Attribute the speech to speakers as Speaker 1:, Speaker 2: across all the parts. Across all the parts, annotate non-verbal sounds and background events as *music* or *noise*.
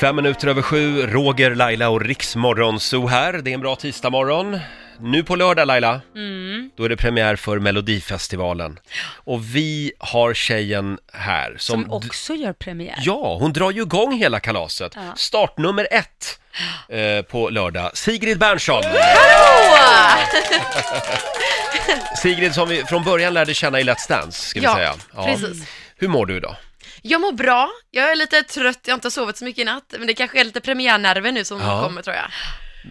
Speaker 1: Fem minuter över sju, Roger, Laila och Riksmorgonzoo här. Det är en bra tisdagmorgon. Nu på lördag Laila, då är det premiär för Melodifestivalen. Och vi har tjejen här som...
Speaker 2: Som, också gör premiär.
Speaker 1: Ja, hon drar ju igång hela kalaset.
Speaker 2: Ja.
Speaker 1: Startnummer ett eh, på lördag. Sigrid Bernson! *laughs* Sigrid som vi från början lärde känna i Let's Dance, ska vi
Speaker 3: Ja,
Speaker 1: säga.
Speaker 3: precis.
Speaker 1: Hur mår du idag?
Speaker 3: Jag mår bra, jag är lite trött, jag har inte sovit så mycket i natt, men det kanske är lite premiärnerver nu som
Speaker 1: Ja.
Speaker 3: kommer tror jag.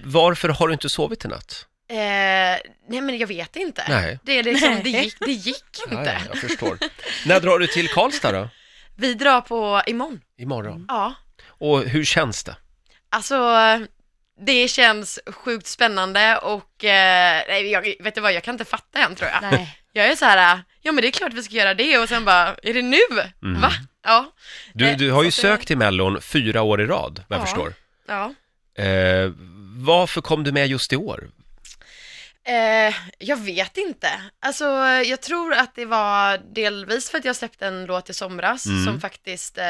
Speaker 1: Varför har du inte sovit i natt?
Speaker 3: Eh, nej men jag vet inte.
Speaker 1: Nej.
Speaker 3: Det, är liksom,
Speaker 2: Nej.
Speaker 3: det, gick, det gick inte.
Speaker 1: Ja, ja, jag förstår. När drar du till Karlstad då?
Speaker 3: Vi drar på imorgon.
Speaker 1: Imorgon.
Speaker 3: Ja,
Speaker 1: Och hur känns det?
Speaker 3: alltså det känns sjukt spännande och eh, nej, jag, vet du vad, jag kan inte fatta än tror jag.
Speaker 2: Nej.
Speaker 3: Jag är så här, ja men det är klart vi ska göra det och sen bara, är det nu?
Speaker 1: Mm.
Speaker 3: Va? Ja,
Speaker 1: Du,
Speaker 3: Eh,
Speaker 1: du har ju
Speaker 3: så att det-
Speaker 1: sökt till Mellon fyra år i rad, vad jag
Speaker 3: Ja.
Speaker 1: förstår.
Speaker 3: ja.
Speaker 1: Eh, varför kom du med just i år?
Speaker 3: Eh, jag vet inte. Alltså, jag tror att det var delvis för att jag släppte en låt i somras
Speaker 1: Mm.
Speaker 3: som faktiskt eh,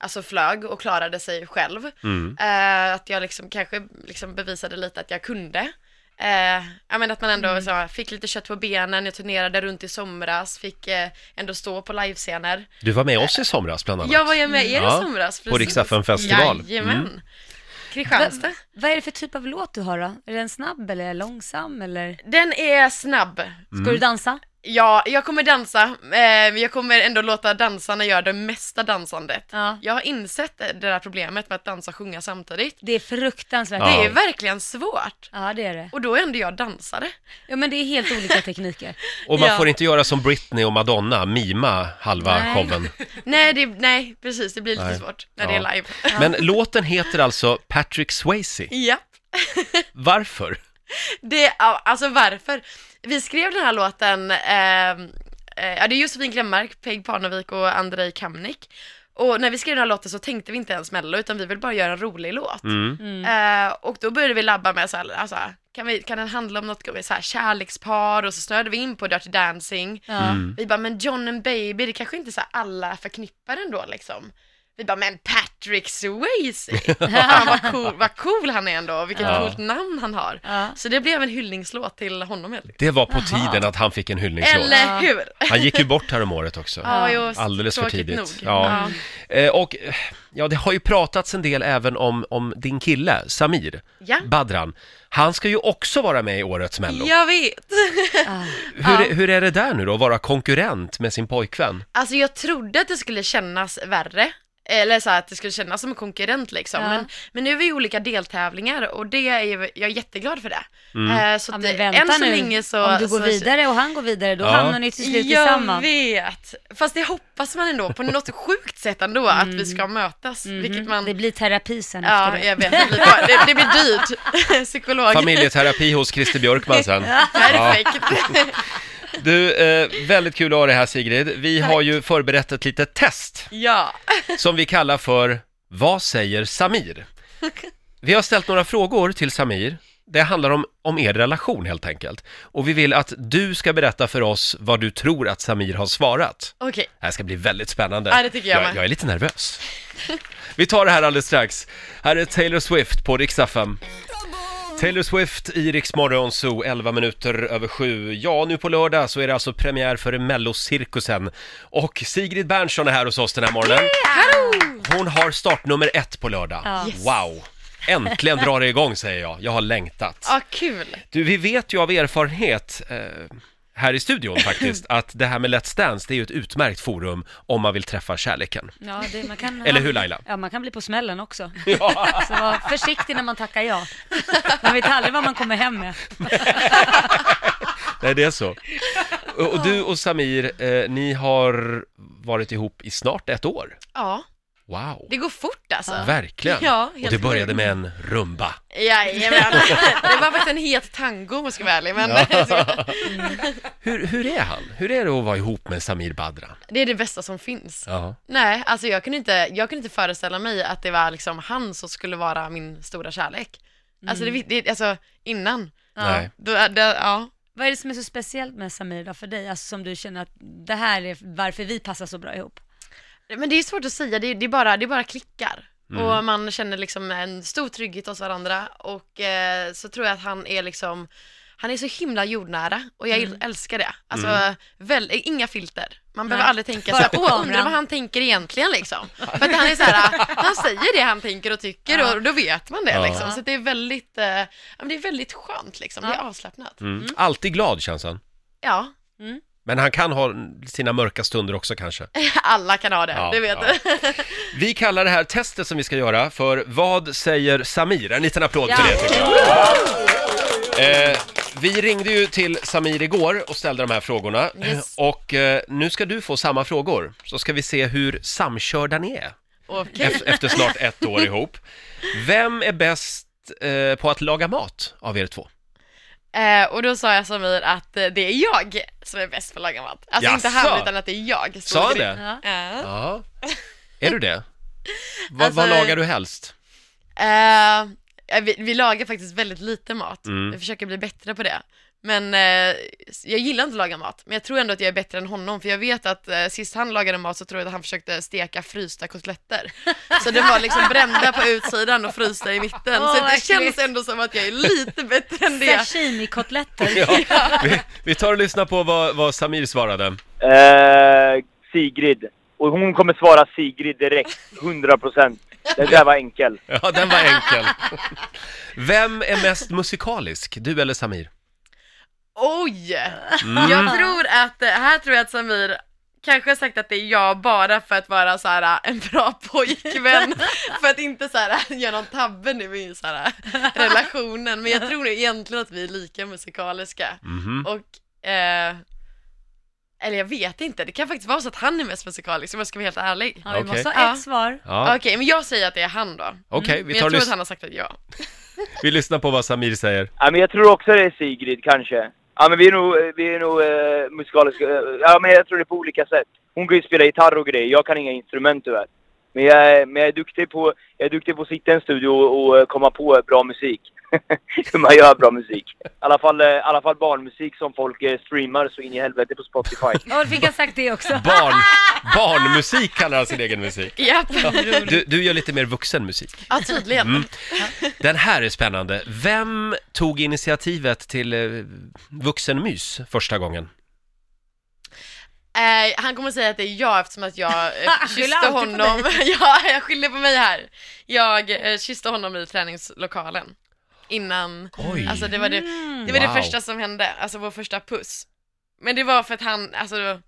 Speaker 3: alltså flög och klarade sig själv.
Speaker 1: Mm.
Speaker 3: Eh, att jag liksom kanske liksom bevisade lite att jag kunde. Eh, ja, men att man ändå
Speaker 1: Mm.
Speaker 3: så, fick lite kött på benen, jag turnerade runt i somras, fick eh, ändå stå på livescener.
Speaker 1: Du var med oss i somras bland annat.
Speaker 3: Jag var ju med er i
Speaker 1: Ja,
Speaker 3: somras.
Speaker 1: på Rix FM-festival.
Speaker 3: Jajamän.
Speaker 1: Mm.
Speaker 3: Kristianstad.
Speaker 2: Vad är det för typ av låt du har då? Är den snabb eller långsam eller?
Speaker 1: Mm.
Speaker 2: Ska
Speaker 3: Den är snabb.
Speaker 2: du dansa?
Speaker 3: Ja, jag kommer dansa. Eh, men jag kommer ändå låta dansarna göra det mesta dansandet.
Speaker 2: Ja.
Speaker 3: Jag har insett det där problemet med att dansa och sjunga samtidigt.
Speaker 2: Det är fruktansvärt.
Speaker 1: Ja.
Speaker 3: Det är verkligen svårt.
Speaker 2: Ja, det är det.
Speaker 3: Och då är ändå jag dansare.
Speaker 2: Ja, men det är helt olika
Speaker 1: *laughs*
Speaker 2: tekniker.
Speaker 1: Och man
Speaker 3: Ja.
Speaker 1: får inte göra som Britney och Madonna, mima halva
Speaker 2: Nej.
Speaker 1: showen.
Speaker 3: Nej, det, nej precis, det blir lite
Speaker 1: Nej.
Speaker 3: svårt när
Speaker 1: Ja.
Speaker 3: det är live. *laughs*
Speaker 1: Men låten heter alltså Patrick Swayze.
Speaker 3: ja,
Speaker 1: Varför?
Speaker 3: det, ja, alltså varför? Vi skrev den här låten, eh, eh, ja det är Josefin Glenmark, Peg Parnevik och Andrei Kamnik. Och när vi skrev den här låten så tänkte vi inte ens mello, utan vi vill bara göra en rolig låt.
Speaker 1: Mm.
Speaker 3: Eh, och då började vi labba med så här, alltså, kan, vi, kan den handla om något med så här, kärlekspar och så snöade vi in på Dirty
Speaker 1: Mm.
Speaker 3: Dancing.
Speaker 2: Ja.
Speaker 3: Vi bara, men John and Baby, det kanske inte så här alla förknippar ändå liksom. Vi bara, men
Speaker 1: *laughs*
Speaker 3: Patrick Swayze, Fan, vad, cool, vad cool han är ändå, och vilket
Speaker 1: Ja.
Speaker 3: coolt namn han har.
Speaker 2: Ja.
Speaker 3: Så det blev en hyllningslåt till honom helt enkelt.
Speaker 1: Det var på
Speaker 2: Jaha.
Speaker 1: tiden att han fick en hyllningslåt.
Speaker 3: Eller hur?
Speaker 1: Han gick ju bort här om året också.
Speaker 3: Ja, jo,
Speaker 1: Alldeles för
Speaker 3: tråkigt
Speaker 1: tidigt.
Speaker 3: Nog.
Speaker 1: Ja. Eh, och eh, ja, det har ju pratats en del även om, om din kille, Samir
Speaker 3: Ja.
Speaker 1: Badran. Han ska ju också vara med i årets Mello.
Speaker 3: Jag vet.
Speaker 2: Ah.
Speaker 1: Hur, är- hur är det där nu då, att vara konkurrent med sin pojkvän?
Speaker 3: Alltså jag trodde att det skulle kännas värre. Eller så här, att det skulle kännas som en konkurrent liksom.
Speaker 2: Ja.
Speaker 3: Men, men nu är vi i olika deltävlingar och det är ju, jag är jätteglad för det. Eh, så
Speaker 2: Ja,
Speaker 3: att
Speaker 2: men
Speaker 3: det-
Speaker 2: vänta
Speaker 3: än så
Speaker 2: nu.
Speaker 3: länge så...
Speaker 2: Om du går
Speaker 3: så,
Speaker 2: vidare och han går vidare, då
Speaker 1: Ja.
Speaker 2: hamnar ni till slut
Speaker 3: jag
Speaker 2: tillsammans.
Speaker 3: vet. Fast det hoppas man ändå på något sjukt sätt ändå att vi ska mötas. Vilket man...
Speaker 2: Mm. Mhm. Det blir terapi sen
Speaker 3: ja,
Speaker 2: efter det.
Speaker 3: jag vet. Det blir, bara- det, det blir dyrt. *laughs* Psykolog.
Speaker 1: Familjeterapi hos Christer Björkman
Speaker 3: *laughs*
Speaker 1: sen.
Speaker 3: Perfekt.
Speaker 1: Du, eh, väldigt kul att ha dig här Sigrid. Vi har ju förberett ett litet test
Speaker 3: *laughs* ja.
Speaker 1: som vi kallar för Vad säger Samir? Vi har ställt några frågor till Samir. Det handlar om, om er relation helt enkelt. Och vi vill att du ska berätta för oss vad du tror att Samir har svarat.
Speaker 3: Okej.
Speaker 1: Det här ska bli väldigt spännande.
Speaker 3: Ja, det tycker jag
Speaker 1: jag,
Speaker 3: med.
Speaker 1: jag är lite nervös. *laughs* Vi tar det här alldeles strax. Här är Taylor Swift på Rix FM. Taylor Swift i Rix Morgon Zoo, 11 minuter över sju. Ja, nu på lördag så är det alltså premiär för Mellocirkusen. Och Sigrid Bernson är här hos oss den här morgonen. Hon har startnummer ett på lördag.
Speaker 2: Ja.
Speaker 3: Yes.
Speaker 1: Wow! Äntligen drar det igång säger jag. Jag har längtat.
Speaker 3: Ja, kul.
Speaker 1: Du, vi vet ju av erfarenhet eh, här i studion faktiskt att det här med Let's Dance, det är ju ett utmärkt forum om man vill träffa kärleken.
Speaker 2: Ja, det, man kan,
Speaker 1: Eller hur,
Speaker 2: *laughs*
Speaker 1: Laila?
Speaker 2: Ja, man kan bli på smällen också. Så var försiktig när man tackar ja. Man vet aldrig vad man kommer hem med.
Speaker 1: *laughs* Nej, det är så. Och, och du och Samir, eh, ni har varit ihop i snart ett år.
Speaker 3: Ja,
Speaker 1: Wow!
Speaker 3: det går fort alltså.
Speaker 1: Verkligen!
Speaker 3: Ja,
Speaker 1: och
Speaker 3: helt
Speaker 1: det började med en rumba.
Speaker 3: Jajamän, det var faktiskt en het tango om jag ska vara ärlig, men
Speaker 1: Hur, hur är han? Hur är det att vara ihop med Samir Badran?
Speaker 3: *laughs* det är det bästa som finns.
Speaker 1: Ja.
Speaker 3: Nej, alltså jag kunde, inte, jag kunde inte föreställa mig att det var liksom han som skulle vara min stora kärlek. Alltså, det, det, alltså innan.
Speaker 2: Ja.
Speaker 1: Nej.
Speaker 3: Då, det, ja.
Speaker 2: Vad är det som är så speciellt med Samir då för dig? Alltså som du känner att det här är varför vi passar så bra ihop?
Speaker 3: Men det är svårt att säga, det, det, bara, det bara klickar.
Speaker 1: Mm.
Speaker 3: Och man känner liksom en stor trygghet hos varandra och eh, så tror jag att han är liksom han är så himla jordnära och jag
Speaker 1: Mm.
Speaker 3: il- älskar det. Alltså, väl, inga filter. Man behöver
Speaker 2: Nej.
Speaker 3: aldrig tänka
Speaker 2: Bara
Speaker 3: så här,
Speaker 2: på
Speaker 3: åh, undrar
Speaker 2: kameran."
Speaker 3: vad han tänker egentligen liksom. För att han är så här, *laughs* han säger det han tänker och tycker
Speaker 2: Ja.
Speaker 3: och då vet man det
Speaker 1: Ja.
Speaker 3: liksom. Så att det är väldigt, eh, ja, men det är väldigt skönt liksom. Det är avslappnat.
Speaker 1: Mm. Alltid glad känns han.
Speaker 3: Ja,
Speaker 1: Men han kan ha sina mörka stunder också kanske.
Speaker 3: alla kan ha det,
Speaker 1: Ja,
Speaker 3: det vet
Speaker 1: ja.
Speaker 3: du.
Speaker 1: Vi kallar det här testet som vi ska göra för Vad säger Samir? En liten applåd för
Speaker 2: Ja.
Speaker 1: det tycker jag. Eh, vi ringde ju till Samir igår och ställde de här frågorna.
Speaker 3: Yes.
Speaker 1: Och eh, nu ska du få samma frågor. Så ska vi se hur samkörda ni är
Speaker 3: *laughs* Okej.
Speaker 1: ef- efter snart ett år ihop. Vem är bäst eh, på att laga mat av er två?
Speaker 3: Eh, och då sa jag Samir att eh, det är jag som är bäst på att laga mat. Alltså inte
Speaker 1: Jaså?
Speaker 3: han utan att det är jag. som
Speaker 1: Sa han
Speaker 3: är grym.
Speaker 1: det?
Speaker 3: Ja.
Speaker 1: Ja. Är du det? Va,
Speaker 3: Alltså-
Speaker 1: vad lagar du helst?
Speaker 3: Eh, vi, vi lagar faktiskt väldigt lite mat.
Speaker 1: Mm.
Speaker 3: Vi försöker bli bättre på det. Men eh, jag gillar inte att laga mat, men jag tror ändå att jag är bättre än honom för jag vet att eh, sist han lagade mat så tror jag att han försökte steka
Speaker 1: *laughs*
Speaker 3: frysta kotletter. Så det var liksom brända på utsidan och frysta i mitten.
Speaker 2: Åh,
Speaker 3: så det
Speaker 2: vad
Speaker 3: känns
Speaker 2: äckligt.
Speaker 3: ändå som att jag är lite bättre än det.
Speaker 2: Sashimi-kotletter.
Speaker 1: Ja. Vi, vi tar och lyssnar på vad, vad Samir svarade.
Speaker 4: Eh, Sigrid. Och hon kommer svara Sigrid direkt. 100 procent. Det där var enkel.
Speaker 1: *laughs* Ja, den var enkel. Vem är mest musikalisk, du eller Samir? Mm.
Speaker 3: Oj! Jag tror att, eh, här tror jag att Samir kanske har sagt att det är jag bara för att vara så här en bra
Speaker 1: *laughs*
Speaker 3: pojkvän. för att inte så här göra någon tabbe nu i så här relationen. Men jag tror nog egentligen att vi är lika musikaliska.
Speaker 1: Mhm.
Speaker 3: Och, eh, eller jag vet inte, det kan faktiskt vara så att han är mest musikalisk om jag ska vara helt ärlig.
Speaker 2: Ja, vi måste
Speaker 1: Okej.
Speaker 2: ha
Speaker 3: Ja.
Speaker 2: ett svar.
Speaker 1: Ja,
Speaker 3: Okej, men jag säger att det är han då.
Speaker 1: okej, vi,
Speaker 3: Men
Speaker 1: tar
Speaker 3: jag
Speaker 1: och
Speaker 3: tror att
Speaker 1: lys-
Speaker 3: han har sagt att jag.
Speaker 1: vi lyssnar på vad Samir säger.
Speaker 4: Ja, men jag tror också det är Sigrid, kanske. Ja, men vi är nog, vi är nog eh, musikaliska. eh, Ja, men jag tror det är på olika sätt. Hon kan ju spela gitarr och grejer. Jag kan inga instrument tyvärr. Men jag, är- men jag, är, duktig på, jag är duktig på att sitta i en studio och, och eh, komma på bra musik. *laughs* Hur man gör bra musik. I alla fall, eh, i alla fall barnmusik som folk eh, streamar så in i helvete på Spotify.
Speaker 2: Ja, fick jag sagt det också.
Speaker 1: Barn, barnmusik kallar han sin egen musik.
Speaker 3: Japp,
Speaker 1: Du, du gör lite mer vuxenmusik.
Speaker 3: *laughs* ja tydligen.
Speaker 1: Den här är spännande. Vem tog initiativet till eh, vuxenmys första gången?
Speaker 3: Eh, han kommer säga att det är jag eftersom
Speaker 2: *laughs*
Speaker 3: att jag eh,
Speaker 2: Skyller
Speaker 3: kysste
Speaker 2: alltid på dig.
Speaker 3: honom. *laughs* ja, jag skyller på mig här. Jag eh, kysste honom i träningslokalen innan.
Speaker 1: Oj.
Speaker 3: Alltså det var det,
Speaker 2: Mm.
Speaker 3: det, var
Speaker 1: Wow.
Speaker 3: det första som hände, alltså vår första puss. Men det var för att han, alltså,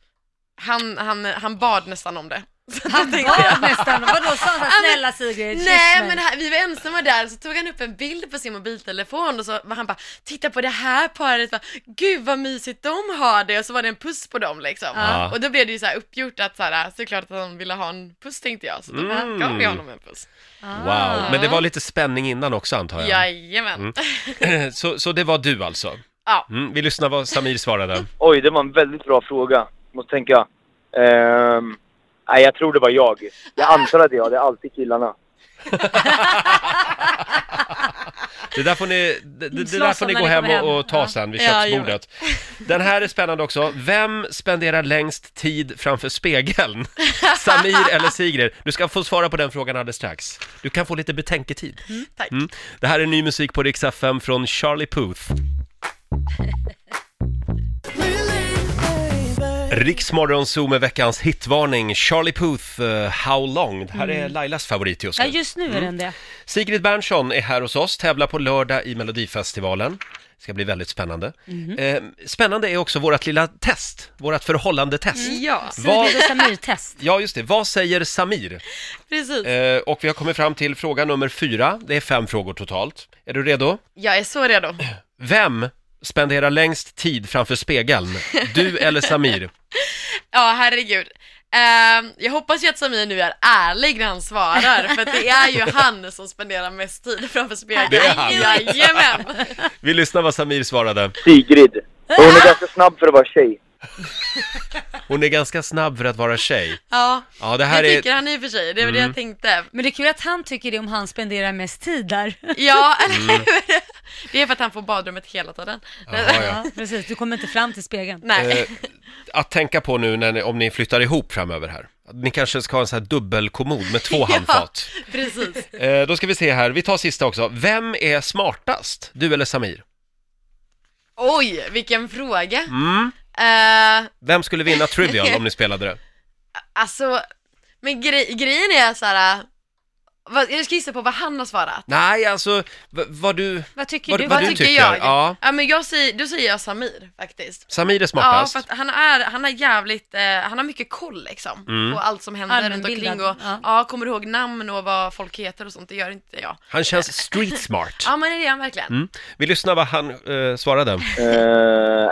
Speaker 3: han, han, han bad nästan om *laughs* det. Så
Speaker 2: Han
Speaker 3: då tänkte jag-
Speaker 2: bad nästan, vadå sa han så här,
Speaker 3: Ja, men-
Speaker 2: snälla Sigrid, kyss
Speaker 3: Nej
Speaker 2: mig."
Speaker 3: men här, vi var ensamma där så tog han upp en bild på sin mobiltelefon och så var han bara Titta på det här paret, va? gud vad mysigt de har det och så var det en puss på dem liksom
Speaker 1: Ja.
Speaker 3: Och då blev det ju så här uppgjort att så här, såklart att han ville ha en puss tänkte jag så då
Speaker 1: Mm.
Speaker 3: gav vi honom en puss
Speaker 1: Wow, men det var lite spänning innan också antar jag.
Speaker 3: Jajamän
Speaker 1: Mm. *laughs*
Speaker 3: *laughs*
Speaker 1: Så, så det var du alltså?
Speaker 3: Ja.
Speaker 1: Mm, vi lyssnar vad Samir svarade.
Speaker 4: Oj, det var en väldigt bra fråga. Måste tänka. Ehm, nej, jag tror det var jag. Jag antar att det är jag. Det är alltid killarna.
Speaker 1: Det där får ni, det, det det
Speaker 2: Slåss
Speaker 1: där får
Speaker 2: om
Speaker 1: ni
Speaker 2: när
Speaker 1: gå
Speaker 2: ni
Speaker 1: hem
Speaker 2: kommer
Speaker 1: och,
Speaker 2: hem.
Speaker 1: och ta
Speaker 2: Ja.
Speaker 1: sen vid
Speaker 3: Ja,
Speaker 1: köksbordet. Den här är spännande också. Vem spenderar längst tid framför
Speaker 2: *laughs*
Speaker 1: spegeln? Samir eller Sigrid? Du ska få svara på den frågan alldeles strax. Du kan få lite betänketid.
Speaker 3: tack.
Speaker 1: Mm. Det här är ny musik på Rix FM från Charlie Puth. Riksmorgon Zoo med veckans hitvarning, Charlie Puth, eh, How Long. Det här är Lailas favorit just
Speaker 2: Mm. Ja
Speaker 1: nu.
Speaker 2: just nu är
Speaker 3: Mm.
Speaker 2: den det.
Speaker 1: Sigrid Bernson är här hos oss, tävlar på lördag i Melodifestivalen. Det ska bli väldigt spännande.
Speaker 3: Mhm.
Speaker 1: Eh, spännande är också vårt lilla test, vårt förhållandetest.
Speaker 3: Ja,
Speaker 1: Vad,
Speaker 2: Sigrid och Samir-test.
Speaker 1: ja, just det. Vad säger Samir?
Speaker 3: precis.
Speaker 1: Eh, och vi har kommit fram till fråga nummer fyra. Det är fem frågor totalt. Är du redo?
Speaker 3: Jag är så redo.
Speaker 1: Vem spenderar längst tid framför spegeln?
Speaker 3: *laughs*
Speaker 1: Du eller Samir?
Speaker 3: Ja, herregud. Ehm, jag hoppas ju att Samir nu är ärlig när han svarar, för att det är ju han som spenderar mest tid framför spegeln.
Speaker 1: Det är han.
Speaker 3: Jajamän!
Speaker 1: Vi lyssnar vad Samir svarade.
Speaker 4: Sigrid. Och Hon är ganska snabb för att vara tjej.
Speaker 1: Hon är ganska snabb för att vara tjej.
Speaker 3: Ja,
Speaker 1: Ja, det här
Speaker 3: jag
Speaker 1: är... Mm.
Speaker 3: tycker han i och för sig, det var det jag tänkte.
Speaker 2: Men det är kul att han tycker det om han spenderar mest tid där.
Speaker 1: *laughs*
Speaker 3: Ja, eller hur? Det är för att han får badrummet hela tiden.
Speaker 1: Mm. Jaha, ja.
Speaker 2: Ja, precis, du kommer inte fram till spegeln.
Speaker 3: Nej.
Speaker 1: Eh, att tänka på nu när ni, om ni flyttar ihop framöver här. Ni kanske ska ha en sån här dubbelkommod med
Speaker 3: *laughs*
Speaker 1: två handfat.
Speaker 3: Precis.
Speaker 1: Eh, då ska vi se här, vi tar sista också. Vem är smartast? Du eller Samir?
Speaker 3: Oj, vilken fråga.
Speaker 1: Mm.
Speaker 3: Eh,
Speaker 1: Vem skulle vinna Trivial om ni spelade
Speaker 3: *laughs*
Speaker 1: det?
Speaker 3: alltså, men gre- grejen är så här. äh, Vad, jag ska gissa på vad han har svarat.
Speaker 1: Nej, alltså, v- vad du...
Speaker 2: Vad tycker
Speaker 1: Vad-
Speaker 2: du?
Speaker 1: vad
Speaker 3: Vad
Speaker 1: du
Speaker 3: tycker,
Speaker 1: tycker,
Speaker 3: jag?
Speaker 1: ja.
Speaker 3: men jag säger, då säger jag Samir faktiskt.
Speaker 1: Samir är
Speaker 3: Ja,
Speaker 1: smartast.
Speaker 3: för att han är, han är jävligt, eh, han har mycket koll liksom
Speaker 1: Mm.
Speaker 3: på allt som händer runt
Speaker 2: Allmänbildad,
Speaker 3: omkring och
Speaker 2: ja.
Speaker 3: ja. kommer ihåg namn och vad folk heter och sånt, det gör inte jag.
Speaker 1: Han känns street smart.
Speaker 3: Ja men det är han verkligen.
Speaker 1: Mm. Vi lyssnar vad han eh,
Speaker 3: *laughs*
Speaker 1: svarade.
Speaker 4: Eh,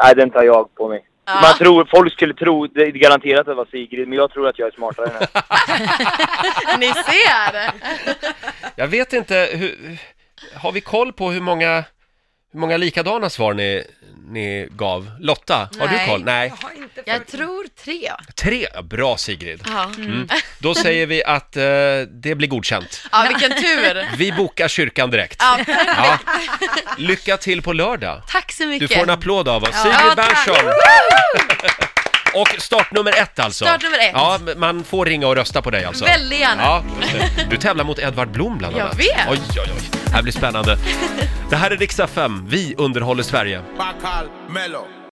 Speaker 4: nej, den tar jag på mig.
Speaker 3: Ja.
Speaker 4: Man tror, folk skulle tro, det är garanterat att det var Sigrid, men jag tror att jag är smartare än
Speaker 3: *laughs*
Speaker 4: henne.
Speaker 3: Ni ser!
Speaker 1: Jag vet inte, hur, har vi koll på hur många, hur många likadana svar ni, ni gav? Lotta, har du
Speaker 3: Nej.
Speaker 1: koll? Nej.
Speaker 5: har inte
Speaker 3: Jag tror tre.
Speaker 1: Tre, Ja, bra Sigrid. Mm.
Speaker 3: Ja,
Speaker 1: Då säger vi att eh, det blir godkänt.
Speaker 3: ja vilken tur! *laughs*
Speaker 1: Vi bokar kyrkan direkt.
Speaker 3: Ja,
Speaker 1: Ja. Lycka till på lördag.
Speaker 2: Tack så
Speaker 1: Du
Speaker 2: mycket.
Speaker 1: får en applåd av oss.
Speaker 3: Ja,
Speaker 1: Sigrid
Speaker 3: tack.
Speaker 1: Bernson. Och startnummer ett alltså.
Speaker 3: Startnummer ett.
Speaker 1: Ja, men man får ringa och rösta på dig alltså.
Speaker 3: Väldigt gärna.
Speaker 1: Ja, just det. du tävlar mot Edvard Blom bland
Speaker 3: Jag
Speaker 1: annat.
Speaker 3: vet.
Speaker 1: Oj, oj, oj. Det här blir spännande. Det här är Riksa 5. Vi underhåller Sverige.
Speaker 6: Bacal Mello.